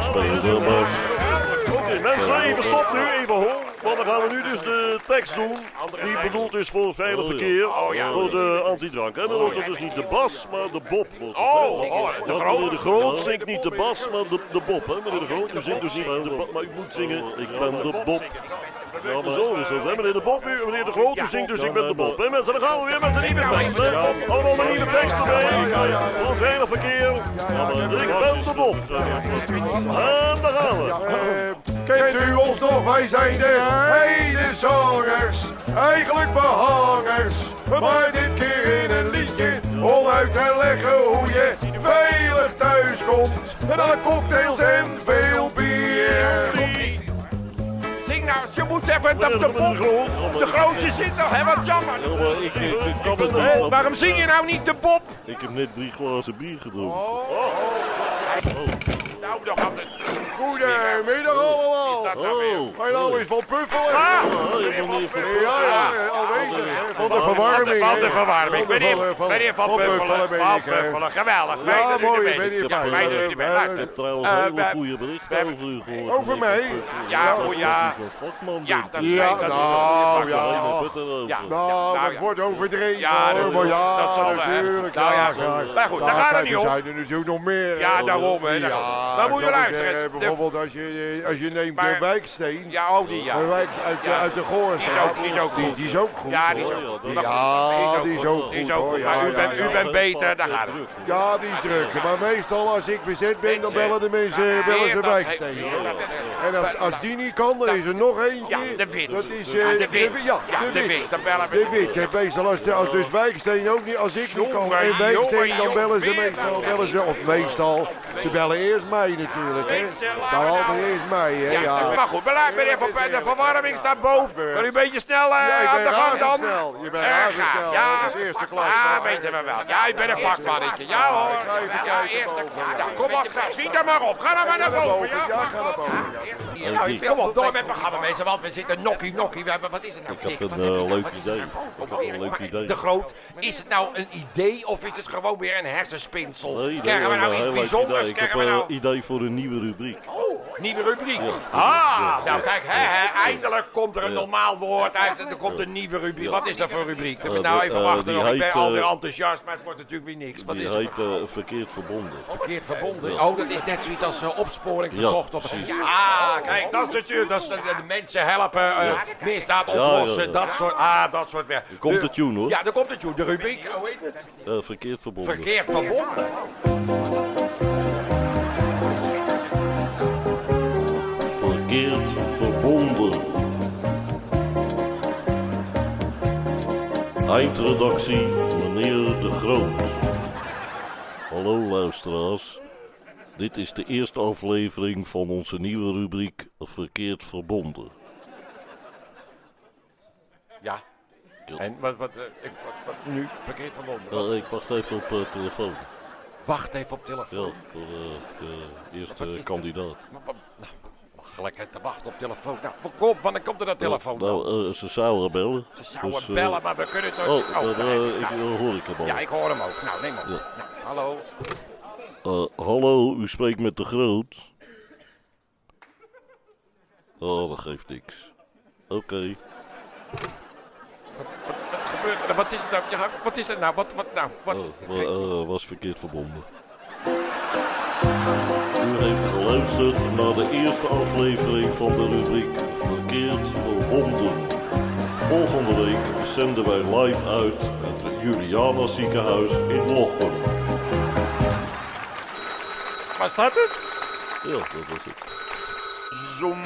Speaker 3: speel de bas.
Speaker 5: Oké, mensen, even stop nu, even hoor. Want dan gaan we nu dus de tekst doen. Die bedoeld is voor het veilig
Speaker 3: Oh, ja.
Speaker 5: verkeer.
Speaker 2: Oh, ja.
Speaker 5: Voor de antidrank. En dan wordt het dus niet de bas, maar de bob. wordt het,
Speaker 2: Oh,
Speaker 5: hè.
Speaker 2: oh, de
Speaker 5: Want
Speaker 2: Groot.
Speaker 5: Meneer de Groot zingt niet de bas, maar de, de bob. Hè? Meneer de Groot, u zingt dus niet de bas, maar u moet zingen. Ik ben de bob. Ja, maar zo is dat, hè? Meneer de Bob, u- meneer de Groot, u zingt dus ik ben de Bob. Hè, mensen, dan gaan we weer met een nieuwe tekst, hè? Allemaal met nieuwe teksten mee. Voor veilig verkeer. Ja,
Speaker 3: eh,
Speaker 5: maar ik ben de Bob. En daar gaan we.
Speaker 4: Kent u ons nog? Wij zijn de hele zangers, eigenlijk behangers. Maar dit keer in een liedje om uit te leggen hoe je veilig thuis komt. Na cocktails en veel bier.
Speaker 2: Zing nou, je moet even dat de
Speaker 5: Meneer
Speaker 2: bob.
Speaker 5: Groot.
Speaker 2: De grootje zit nog, hè, wat jammer.
Speaker 3: Ja, maar eh, ik, ik, ik kan het
Speaker 2: Hé,
Speaker 3: niet.
Speaker 2: waarom zing je nou niet de bob?
Speaker 3: Ik heb net drie glazen bier gedronken. Oh.
Speaker 2: Nou, dan gaat het.
Speaker 4: Goedemiddag allemaal.
Speaker 2: Dat nou weer.
Speaker 3: Oh,
Speaker 4: Mijn naam is Van Puffelen.
Speaker 2: Ah!
Speaker 3: oh, je hebt meneer Van
Speaker 4: Ja, ja, alweer. Van de verwarming.
Speaker 2: Van de
Speaker 4: hè.
Speaker 2: verwarming.
Speaker 4: Van de
Speaker 2: Meneer
Speaker 4: van-
Speaker 2: meneer Van
Speaker 4: van
Speaker 2: Buffelen.
Speaker 4: ben
Speaker 2: Van
Speaker 4: ik, hè.
Speaker 2: Buffelen, geweldig. Fijn
Speaker 4: Ja,
Speaker 2: dat u er
Speaker 4: mooi,
Speaker 2: bent.
Speaker 4: ben je
Speaker 2: Ja,
Speaker 4: fijn.
Speaker 2: fijn dat u er bent.
Speaker 4: Ja,
Speaker 3: Ik heb
Speaker 2: Luister.
Speaker 3: trouwens
Speaker 2: Eh,
Speaker 3: hele
Speaker 2: wij-
Speaker 3: goede berichten
Speaker 2: wij hebben-
Speaker 3: over u gehoord.
Speaker 4: Over
Speaker 3: meneer Van
Speaker 4: mij?
Speaker 3: Putten.
Speaker 2: Ja,
Speaker 3: dat
Speaker 2: voor
Speaker 3: u
Speaker 2: ja.
Speaker 3: zo'n vakman
Speaker 2: Ja,
Speaker 3: bent.
Speaker 2: dat
Speaker 4: Ja,
Speaker 2: fijn dat u zo'n
Speaker 4: nou,
Speaker 2: goede
Speaker 4: ja.
Speaker 2: vak-
Speaker 3: Helemaal
Speaker 4: oh.
Speaker 3: Putten
Speaker 2: Ja.
Speaker 4: Nou,
Speaker 3: ook.
Speaker 2: Nou,
Speaker 4: dat
Speaker 2: ja.
Speaker 4: wordt overdreven.
Speaker 2: Ja,
Speaker 4: hoor,
Speaker 2: dat-
Speaker 4: maar ja,
Speaker 2: dat zal, hè.
Speaker 4: natuurlijk.
Speaker 2: Nou, ja.
Speaker 4: graag.
Speaker 2: Maar goed, daar
Speaker 4: Nou,
Speaker 2: gaat het
Speaker 4: kijk,
Speaker 2: niet
Speaker 4: er
Speaker 2: om.
Speaker 4: zijn er natuurlijk nog meer.
Speaker 2: Ja, daarom. hè,
Speaker 4: Ja,
Speaker 2: daarom.
Speaker 4: ik
Speaker 2: Maar moet je
Speaker 4: zou
Speaker 2: luisteren.
Speaker 4: zeggen,
Speaker 2: de-
Speaker 4: bijvoorbeeld als je, eh, als je neemt
Speaker 2: Maar-
Speaker 4: de wijksteen.
Speaker 2: Ja, oh, die ja.
Speaker 4: De wijk uit, de-
Speaker 2: Ja.
Speaker 4: uit de
Speaker 2: Die is ook-
Speaker 4: Goorstraat.
Speaker 2: die is ook goed.
Speaker 4: Die is ook goed.
Speaker 2: Ja, die is
Speaker 3: hoor,
Speaker 2: ook
Speaker 3: ja,
Speaker 2: goed.
Speaker 3: dat-
Speaker 4: Ja, die is ook goed.
Speaker 2: Die is ook
Speaker 4: hoor,
Speaker 2: goed.
Speaker 4: ja,
Speaker 2: Maar u
Speaker 4: ja,
Speaker 2: bent,
Speaker 4: ja.
Speaker 2: u bent beter, daar gaat het.
Speaker 4: Ja, die is druk. Maar meestal als ik bezet ben, dan
Speaker 2: Mensen.
Speaker 4: bellen de mensen bellen
Speaker 2: Heer,
Speaker 4: ze
Speaker 2: dat-
Speaker 4: wijksteen.
Speaker 2: heer, dat-
Speaker 4: En als, als die niet kan, dan is er nog eentje.
Speaker 2: Ja, de wit.
Speaker 4: Dat is eh,
Speaker 2: Ja, de wit.
Speaker 4: Ja,
Speaker 2: Ja, de wit. Dan bellen we.
Speaker 4: De wit. En meestal als, de, als dus Wijksteen ook niet, als ik niet kan.
Speaker 2: Jongen,
Speaker 4: En Wijksteen,
Speaker 2: jongen,
Speaker 4: dan bellen ze
Speaker 2: jongen,
Speaker 4: meestal,
Speaker 2: weer
Speaker 4: bellen ze,
Speaker 2: dat.
Speaker 4: of meestal, ze bellen eerst mij natuurlijk, hè.
Speaker 2: Mensen, laat
Speaker 4: Dan
Speaker 2: nou.
Speaker 4: altijd eerst mij, hè,
Speaker 2: Ja,
Speaker 4: ja.
Speaker 2: maar goed, beleid meneer Van Putten, de verwarming staat boven. Maar u een beetje snel eh,
Speaker 4: Ja, je
Speaker 2: aan de
Speaker 4: bent
Speaker 2: gang dan.
Speaker 4: razendsnel. Je bent
Speaker 2: Erg
Speaker 4: razendsnel.
Speaker 2: Ja,
Speaker 4: Dat is eerste klas.
Speaker 2: Ja,
Speaker 4: Ja,
Speaker 2: weten we wel. Ja, u bent een vakmannetje. Ja hoor.
Speaker 4: ga even
Speaker 2: Ja,
Speaker 4: kijken
Speaker 2: eerste
Speaker 4: boven.
Speaker 2: klas. Nou, kom op, nou, schiet er maar op. Ga dan
Speaker 4: Ga
Speaker 2: maar naar
Speaker 4: naar
Speaker 2: boven.
Speaker 4: boven, ja,
Speaker 2: Ja,
Speaker 4: ga naar boven, ja.
Speaker 2: Ja, nou, ik kom op, door met programma mensen, want we zitten nokkie nokkie. We hebben, wat is het nou?
Speaker 3: Ik heb
Speaker 2: Dick?
Speaker 3: een,
Speaker 2: Wat heb je
Speaker 3: eh,
Speaker 2: nou?
Speaker 3: leuk
Speaker 2: Wat is
Speaker 3: idee.
Speaker 2: het nou?
Speaker 3: Ik heb een leuk
Speaker 2: Maar,
Speaker 3: idee.
Speaker 2: De Groot, is het nou een idee of is het gewoon weer een hersenspinsel?
Speaker 3: Nee, nee,
Speaker 2: Krijgen we
Speaker 3: ja,
Speaker 2: nou
Speaker 3: heel
Speaker 2: iets
Speaker 3: leuk idee.
Speaker 2: bijzonders?
Speaker 3: Ik heb eh,
Speaker 2: Krijgen we
Speaker 3: een
Speaker 2: nou...
Speaker 3: idee voor een nieuwe rubriek.
Speaker 2: Oh, nieuwe rubriek.
Speaker 3: ja,
Speaker 2: Ah,
Speaker 3: ja.
Speaker 2: nou kijk, hè, hè, eindelijk komt er een
Speaker 3: Ja.
Speaker 2: normaal woord uit en er komt een nieuwe rubriek. Wat is dat voor rubriek? Ik moet
Speaker 3: Eh,
Speaker 2: nou
Speaker 3: de-
Speaker 2: even
Speaker 3: eh,
Speaker 2: wachten,
Speaker 3: die
Speaker 2: nog. ik ben
Speaker 3: heet,
Speaker 2: alweer
Speaker 3: eh,
Speaker 2: enthousiast, maar het wordt natuurlijk weer niks. Wat
Speaker 3: Die
Speaker 2: is het?
Speaker 3: heet eh, verkeerd verbonden.
Speaker 2: Verkeerd verbonden. Oh, dat is net zoiets als eh, opsporing
Speaker 3: Ja,
Speaker 2: verzocht. Op...
Speaker 3: precies.
Speaker 2: Ah, kijk, dat is natuurlijk. Dat is de, de mensen helpen, eh, misdaad oplossen,
Speaker 3: ja, ja.
Speaker 2: dat soort. Ah, dat soort werk.
Speaker 3: Komt
Speaker 2: De-
Speaker 3: de tune hoor.
Speaker 2: Ja, daar komt het, joh. De rubriek, hoe heet het?
Speaker 3: Eh, verkeerd verbonden.
Speaker 2: Verkeerd verbonden.
Speaker 3: Verkeerd verbonden. Eindredactie, meneer De Groot. Hallo luisteraars. Dit is de eerste aflevering van onze nieuwe rubriek Verkeerd verbonden.
Speaker 2: Ja.
Speaker 3: Ja.
Speaker 2: En wat, wat, eh, ik, wat, wat nu? Verkeerd verbonden.
Speaker 3: Eh, ik wacht even op eh, telefoon.
Speaker 2: Wacht even op telefoon.
Speaker 3: Ja, voor eh, de
Speaker 2: Wat is
Speaker 3: eerste
Speaker 2: dat?
Speaker 3: kandidaat.
Speaker 2: Maar wat- Nou, gelijk te wachten op telefoon. Nou, kom, wanneer komt er dat telefoon? dan?
Speaker 3: Nou, eh, ze zouden bellen.
Speaker 2: Ze zouden
Speaker 3: dus, eh,
Speaker 2: bellen, maar we kunnen het
Speaker 3: Oh, dat, eh,
Speaker 2: nou,
Speaker 3: ik, eh, hoor ik hem al.
Speaker 2: Ja, ik hoor hem ook. Nou, neem op.
Speaker 3: Ja.
Speaker 2: Nou, hallo.
Speaker 3: Eh, hallo, u spreekt met de Groot. Oh, dat geeft niks. Oké.
Speaker 2: Wat gebeurt er? Wat is het nou? Ja, wat is het nou? Wat, wat nou? Wat?
Speaker 3: Oh, wa- eh, was verkeerd verbonden. U heeft geluisterd naar de eerste aflevering van de rubriek Verkeerd verbonden. Volgende week zenden wij live uit het Juliana ziekenhuis in Lochem.
Speaker 2: Was dat het?
Speaker 3: Ja, dat was het.
Speaker 2: Zoom,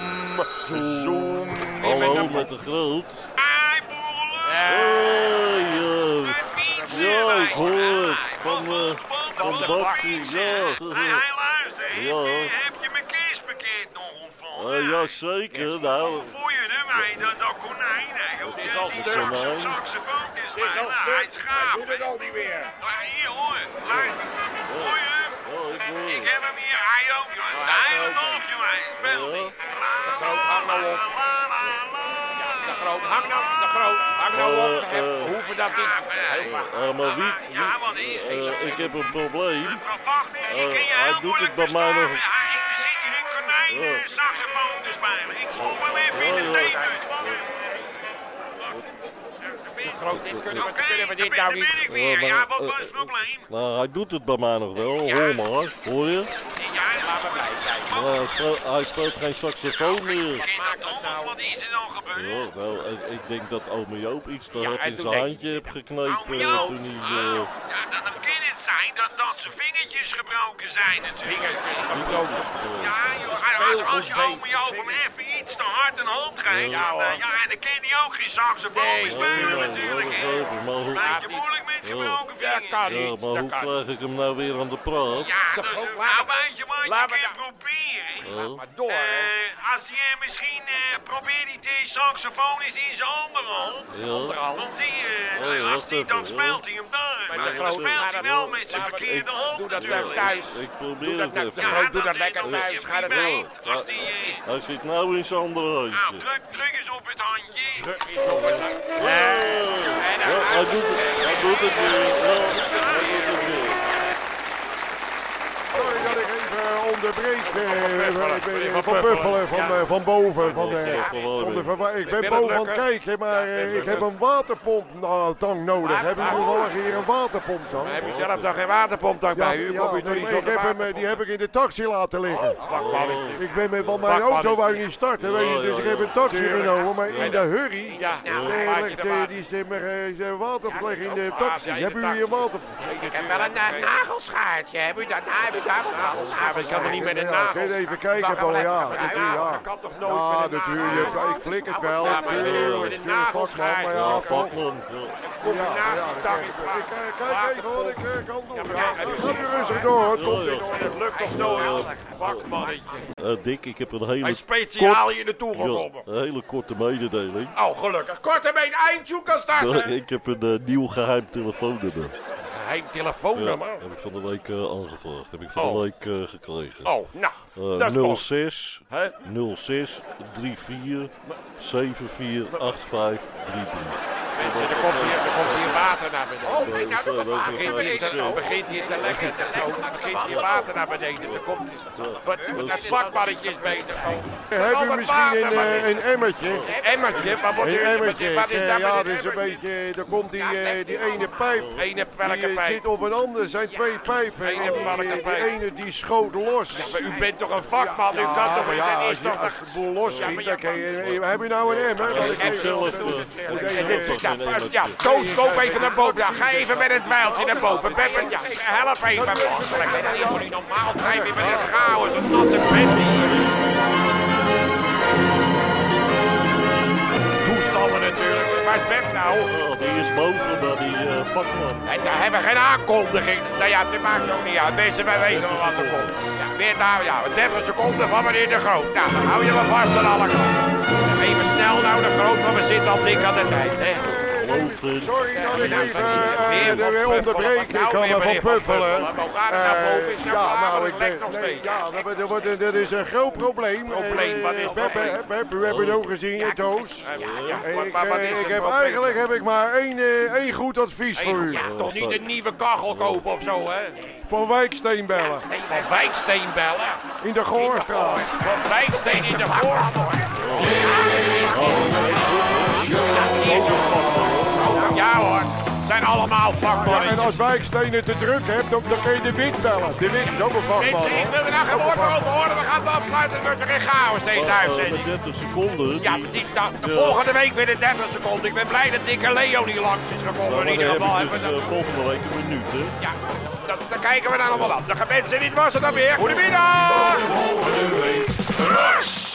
Speaker 2: zoom.
Speaker 3: Hallo met de Groot.
Speaker 1: Ai, boerle,
Speaker 3: Hey, eh,
Speaker 1: mijn fietsen.
Speaker 3: Ja, ik hoor het. Van, eh,
Speaker 1: Van
Speaker 3: van Bafti, ja.
Speaker 1: Hij, hij luistert. Heb,
Speaker 3: Ja.
Speaker 1: je, heb je mijn kerstpakket nog ontvangen?
Speaker 3: eh, jazeker, nou.
Speaker 1: Voor, voor je hem, hij, dat, dat konijn. Hè. Of
Speaker 2: is
Speaker 1: die-
Speaker 2: al
Speaker 1: die
Speaker 3: stuk.
Speaker 1: sax-
Speaker 3: Konijn.
Speaker 1: saxofoontjes, man.
Speaker 2: al
Speaker 1: Nou,
Speaker 2: stuk.
Speaker 1: Hij is gaaf.
Speaker 2: Doe het
Speaker 1: hè.
Speaker 2: al niet meer.
Speaker 1: Nou, hier hoor. Luister. Hoor je hem?
Speaker 3: Ja, ik eh, hoor
Speaker 1: Ik
Speaker 3: het.
Speaker 1: heb hem hier. Hij ook, man. De hele dag, jongen. Hij speelt.
Speaker 3: Ja. nou,
Speaker 1: La, la, la, la, la, la.
Speaker 2: groot. Hang nou op de groot. Hang nou
Speaker 3: Eh,
Speaker 2: op. Hem.
Speaker 3: eh.
Speaker 2: Hoe hoeven dat
Speaker 1: Ja,
Speaker 2: niet.
Speaker 1: eh,
Speaker 2: Heel vaak.
Speaker 3: Eh, maar wie, wie-
Speaker 1: Ja, want hier ging
Speaker 3: eh, ik heb een probleem.
Speaker 1: Maar wacht, nee,
Speaker 3: Eh,
Speaker 1: ik kan je
Speaker 3: hij
Speaker 1: heel
Speaker 3: doet
Speaker 1: moeilijk
Speaker 3: het bij mij nog.
Speaker 1: verstaan. Hij ik zit hier een konijn eh, saxofoon te spelen. Ik stop hem even in de
Speaker 3: Ja, ja.
Speaker 1: theemuts. man.
Speaker 2: Groot, dit kunnen we,
Speaker 1: Oké,
Speaker 2: kunnen we
Speaker 1: daar ben-
Speaker 2: dit nou
Speaker 1: daar ben
Speaker 2: niet.
Speaker 1: ik weer.
Speaker 3: maar,
Speaker 1: Ja, wat
Speaker 3: eh,
Speaker 1: was het probleem?
Speaker 3: Nou, hij doet het bij mij nog wel. Hoor maar. Hoor je?
Speaker 1: Ja,
Speaker 2: Laten we blij zijn.
Speaker 3: Maar hij speelt, hij speelt geen saxofoon meer.
Speaker 1: Kind
Speaker 2: maakt dat
Speaker 1: dat om?
Speaker 2: nou?
Speaker 1: Wat is er dan gebeurd?
Speaker 3: Ja, wel, ik, ik denk dat ome Joop iets te hard
Speaker 2: hij
Speaker 3: in
Speaker 2: doet
Speaker 3: zijn
Speaker 2: denk-
Speaker 3: handje heeft geknepen
Speaker 1: Ome
Speaker 3: eh,
Speaker 1: Joop?
Speaker 3: toen hij... eh,
Speaker 1: Ah, Ja, dan dan kan het zijn dat dat zijn vingertjes gebroken zijn natuurlijk.
Speaker 2: Vingertjes gebroken.
Speaker 1: Ja, joh, hij- als, als je oom Joop hem even iets te hard een hand geeft,
Speaker 2: Ja,
Speaker 1: ja,
Speaker 2: hoor.
Speaker 1: ja, en dan kan hij ook geen saxofoon
Speaker 2: Nee,
Speaker 1: meer
Speaker 3: nee,
Speaker 1: spelen
Speaker 3: nee,
Speaker 1: natuurlijk.
Speaker 3: dat
Speaker 1: hè.
Speaker 3: begrijp ik, maar hoe-
Speaker 1: Beetje moeilijk met
Speaker 3: Ja.
Speaker 1: gebroken
Speaker 2: Dat
Speaker 1: vingers.
Speaker 2: kan
Speaker 3: Ja,
Speaker 2: niet.
Speaker 3: maar
Speaker 2: Dat
Speaker 3: hoe
Speaker 2: kan niet.
Speaker 3: krijg ik hem nou weer aan de praat?
Speaker 1: Ja,
Speaker 2: Dat
Speaker 1: dus
Speaker 2: ook,
Speaker 1: nou
Speaker 2: laat maar-
Speaker 1: weet je wat je
Speaker 2: laat maar
Speaker 1: kan
Speaker 2: dat-
Speaker 1: proberen.
Speaker 3: Ja.
Speaker 2: Maar door, hè.
Speaker 1: Eh, als je misschien eh probeert die te- saxofoon eens in zijn onderhand.
Speaker 3: Ja.
Speaker 2: Al.
Speaker 1: Want die, eh,
Speaker 3: Oh, ja,
Speaker 1: als
Speaker 3: dat
Speaker 1: die,
Speaker 3: even,
Speaker 1: dan speelt
Speaker 3: ja.
Speaker 1: hij hem daar. Maar,
Speaker 2: de
Speaker 1: dan
Speaker 2: grote-
Speaker 1: speelt
Speaker 2: maar
Speaker 1: hij
Speaker 2: dat-
Speaker 1: wel met zijn
Speaker 2: maar dat-
Speaker 1: verkeerde
Speaker 2: ik
Speaker 1: hand
Speaker 2: doe dat
Speaker 1: natuurlijk.
Speaker 2: nou thuis.
Speaker 3: Ik
Speaker 2: Doe
Speaker 3: probeer
Speaker 2: dat
Speaker 3: het
Speaker 2: nou
Speaker 3: even.
Speaker 2: thuis. doe dat
Speaker 1: denk
Speaker 2: lekker
Speaker 1: ik ook.
Speaker 2: thuis.
Speaker 1: Je
Speaker 2: Ga dat
Speaker 1: weet,
Speaker 2: doen.
Speaker 1: Als die, eh,
Speaker 3: Hij zit nou in zijn andere
Speaker 1: nou,
Speaker 3: handje.
Speaker 1: druk, druk eens op het handje.
Speaker 3: Ja, hij doet het. Hij doet het weer. Ja, hij doet het weer.
Speaker 4: Sorry dat ik even onderbreek.
Speaker 2: Van
Speaker 4: eh, ik ben- Van Buffelen,
Speaker 2: Buffelen.
Speaker 4: van,
Speaker 2: Ja.
Speaker 4: eh, van boven. Van, eh,
Speaker 3: Ja, van boven.
Speaker 4: om de verwa- ik ben
Speaker 2: Wil het
Speaker 4: boven aan het
Speaker 2: lukken?
Speaker 4: kijken, maar eh, ik heb een waterpomptang nodig.
Speaker 2: Water-
Speaker 4: Hebben jullie toevallig hier een waterpomptang?
Speaker 2: Heb je zelf dan geen waterpomp dan bij u? Kom
Speaker 4: nee,
Speaker 2: je toch niet
Speaker 4: maar ik
Speaker 2: zonder
Speaker 4: heb hem,
Speaker 2: waterpomp?
Speaker 4: eh, die heb ik in de taxi laten liggen.
Speaker 2: Oh. Vakmannetje.
Speaker 4: Ik ben met, want mijn
Speaker 2: Vakman
Speaker 4: auto
Speaker 2: is
Speaker 4: wou
Speaker 2: die-
Speaker 4: niet starten, weet je,
Speaker 3: Ja,
Speaker 4: dus
Speaker 3: ja,
Speaker 4: ik heb
Speaker 3: ja.
Speaker 4: een taxi
Speaker 2: Tuurlijk.
Speaker 4: genomen, maar in de hurry
Speaker 2: Ja,
Speaker 4: eh,
Speaker 2: dan maak je
Speaker 4: legt,
Speaker 2: de
Speaker 4: eh,
Speaker 2: water.
Speaker 4: die stemmer eh, zijn watervlees in de
Speaker 2: Ah,
Speaker 4: taxi.
Speaker 2: ja, in de
Speaker 4: Hebben jullie
Speaker 2: taxi.
Speaker 4: een waterpomptang?
Speaker 2: Ik heb wel een na- nagelschaartje. Heb u dat? Nou, Heb u daar een nagelschaartje? Ik kan er niet met een
Speaker 4: Ja,
Speaker 2: nagel.
Speaker 4: kun je even kijken,
Speaker 2: Mag ik
Speaker 4: Paul?
Speaker 2: wel even
Speaker 4: Ja,
Speaker 2: gebruiken?
Speaker 4: natuurlijk, ja.
Speaker 2: Dat kan toch nooit
Speaker 4: Ja,
Speaker 2: met een
Speaker 4: natuurlijk.
Speaker 2: nagel?
Speaker 4: Ik flik het wel.
Speaker 2: Ja, maar
Speaker 4: Tuurlijk,
Speaker 2: natuurlijk, met een
Speaker 4: tuurlijk,
Speaker 2: nagelschaar.
Speaker 4: vakman, maar ja,
Speaker 3: Pak hem. Ja.
Speaker 2: Combinatie
Speaker 4: ja,
Speaker 2: tang
Speaker 4: ik,
Speaker 2: in
Speaker 4: ik,
Speaker 2: plaats.
Speaker 4: eh, kijk even wat ik eh, kan doen.
Speaker 2: maar
Speaker 4: Ja,
Speaker 2: ja,
Speaker 4: Ga
Speaker 2: precies.
Speaker 4: nu rustig door, hoor. Komt
Speaker 3: Ja,
Speaker 4: in
Speaker 3: ja.
Speaker 4: orde.
Speaker 2: Het lukt toch nooit? Vakmannetje.
Speaker 3: Eh, Dick, ik heb een hele,
Speaker 2: Hij is speciaal hier naartoe
Speaker 3: ja,
Speaker 2: gekomen.
Speaker 3: een hele korte mededeling.
Speaker 2: Oh, gelukkig. Kort ermee een eindje kan starten.
Speaker 3: Ik heb een eh, nieuw geheim telefoonnummer.
Speaker 2: Geheim
Speaker 3: Ja,
Speaker 2: telefoonnummer.
Speaker 3: heb ik van de week eh, aangevraagd. Heb ik van de
Speaker 2: Oh.
Speaker 3: week eh, gekregen.
Speaker 2: Oh, nou.
Speaker 3: Eh,
Speaker 2: dat is mooi.
Speaker 3: 06
Speaker 2: Hè?
Speaker 3: 06 34 74 85 33.
Speaker 2: Mensen, er komt hier, er komt hier water naar beneden. Oh,
Speaker 3: kijk nou, dat was
Speaker 2: begint
Speaker 3: water.
Speaker 2: hier te, begint hier te lekken. Er begint hier water naar beneden. Er komt wat, dat vakmannetje is bezig.
Speaker 4: Heb je misschien een, eh, een emmertje?
Speaker 2: Emmertje, maar wat,
Speaker 4: Een
Speaker 2: duurt-
Speaker 4: emmertje.
Speaker 2: wat is
Speaker 4: Eh,
Speaker 2: dat
Speaker 4: Ja,
Speaker 2: met
Speaker 4: dat is een beetje... Daar komt die,
Speaker 2: Ja,
Speaker 4: eh,
Speaker 2: legt
Speaker 4: die
Speaker 2: die
Speaker 4: ene pijp.
Speaker 2: Ene
Speaker 4: Die
Speaker 2: welke
Speaker 4: eh,
Speaker 2: pijp?
Speaker 4: zit op een ander. Er zijn twee pijpen.
Speaker 2: Ene
Speaker 4: En die, eh,
Speaker 2: welke
Speaker 4: Die
Speaker 2: pijp?
Speaker 4: ene die schoot los.
Speaker 2: Maar u bent toch een vakman? U kan toch
Speaker 4: maar
Speaker 2: niet?
Speaker 4: ja,
Speaker 2: Dat is
Speaker 4: als je,
Speaker 2: toch
Speaker 4: als
Speaker 2: dat...
Speaker 4: je de boel los
Speaker 2: Ja, maar
Speaker 4: schiet,
Speaker 2: ja,
Speaker 4: dan kan je... Heb je nou een emmer? Want ik
Speaker 3: heb
Speaker 4: heb-
Speaker 3: zelf, eh,
Speaker 4: Oké,
Speaker 2: En dit-
Speaker 4: eh,
Speaker 2: ja, Ja, Toos, loop even naar boven. Ja, ga even met het dweiltje naar boven. Beppert, ja, help even. Dat is voor niet normaal. Ga je weer met het chaos, een natte bende hier. Toestanden natuurlijk. Waar is Bep nou?
Speaker 3: Ah, die is boven bij die eh, vakman.
Speaker 2: En daar hebben we geen aankondiging. Nou ja, dat maakt ook niet uit. Mensen, wij weten wel wat er komt. Ja, weer nou, ja, 30 seconden van meneer De Groot. Nou, dan hou je me vast aan alle kanten. Even snel nou De Groot, want we zitten al dik aan de tijd. Hè?
Speaker 3: Boven.
Speaker 4: Sorry dat ik
Speaker 2: Ja,
Speaker 4: even
Speaker 2: meneer
Speaker 4: eh, er weer
Speaker 2: Van Puffelen,
Speaker 4: onderbreek.
Speaker 2: wat nou
Speaker 4: Ik kan
Speaker 2: weer,
Speaker 4: er van
Speaker 2: meneer Van
Speaker 4: puffelen.
Speaker 2: Puffelen? Hoe gaat het nou
Speaker 4: Eh,
Speaker 2: boven? Is nou
Speaker 4: ja,
Speaker 2: waar, want
Speaker 4: nou,
Speaker 2: het
Speaker 4: ik
Speaker 2: lekt
Speaker 4: ben-
Speaker 2: nog
Speaker 4: nee,
Speaker 2: steeds.
Speaker 4: Ja, dat, dat wordt een- dat is een groot probleem.
Speaker 2: Probleem,
Speaker 4: Eh,
Speaker 2: wat is het
Speaker 4: Beb,
Speaker 2: probleem?
Speaker 4: eh, Beb, u hebt het ook gezien, eh, Toos.
Speaker 2: Ja, ja,
Speaker 4: En
Speaker 2: maar-
Speaker 4: Ik,
Speaker 2: maar wat
Speaker 4: eh,
Speaker 2: is
Speaker 4: ik
Speaker 2: het
Speaker 4: heb
Speaker 2: probleem?
Speaker 4: eigenlijk heb ik maar één, eh, één goed advies voor u.
Speaker 2: Ja, toch niet een nieuwe kachel kopen of zo, hè?
Speaker 4: Van Wijksteen bellen.
Speaker 2: Van Wijksteen bellen.
Speaker 4: In de Goorstraat.
Speaker 2: Van Wijksteen in de voorhoor. Ja hoor, zijn allemaal
Speaker 4: Ja, en
Speaker 2: vakmannen.
Speaker 4: als Wijksteen het te druk hebt, dan, dan kun je de Wit bellen. De Wit is ook een vakman.
Speaker 2: Mensen, ik
Speaker 4: hoor.
Speaker 2: wil er nou geen woord meer over horen. We gaan het afsluiten. Het wordt er geen chaos deze
Speaker 3: Ah, eh,
Speaker 2: uitzending.
Speaker 3: met 30 seconden.
Speaker 2: Ja,
Speaker 3: die-
Speaker 2: die, da- de
Speaker 3: Ja.
Speaker 2: volgende week weer de 30 seconden. Ik ben blij dat dikke Leo niet langs is gekomen.
Speaker 3: Nou, maar
Speaker 2: in ieder
Speaker 3: dan
Speaker 2: geval
Speaker 3: heb ik
Speaker 2: hebben we dat.
Speaker 3: dus, eh, volgende week een minuut, hè?
Speaker 2: Ja, dat, daar kijken we dan allemaal af. De gewenste niet was het dan weer. Goedemiddag!
Speaker 1: Rust!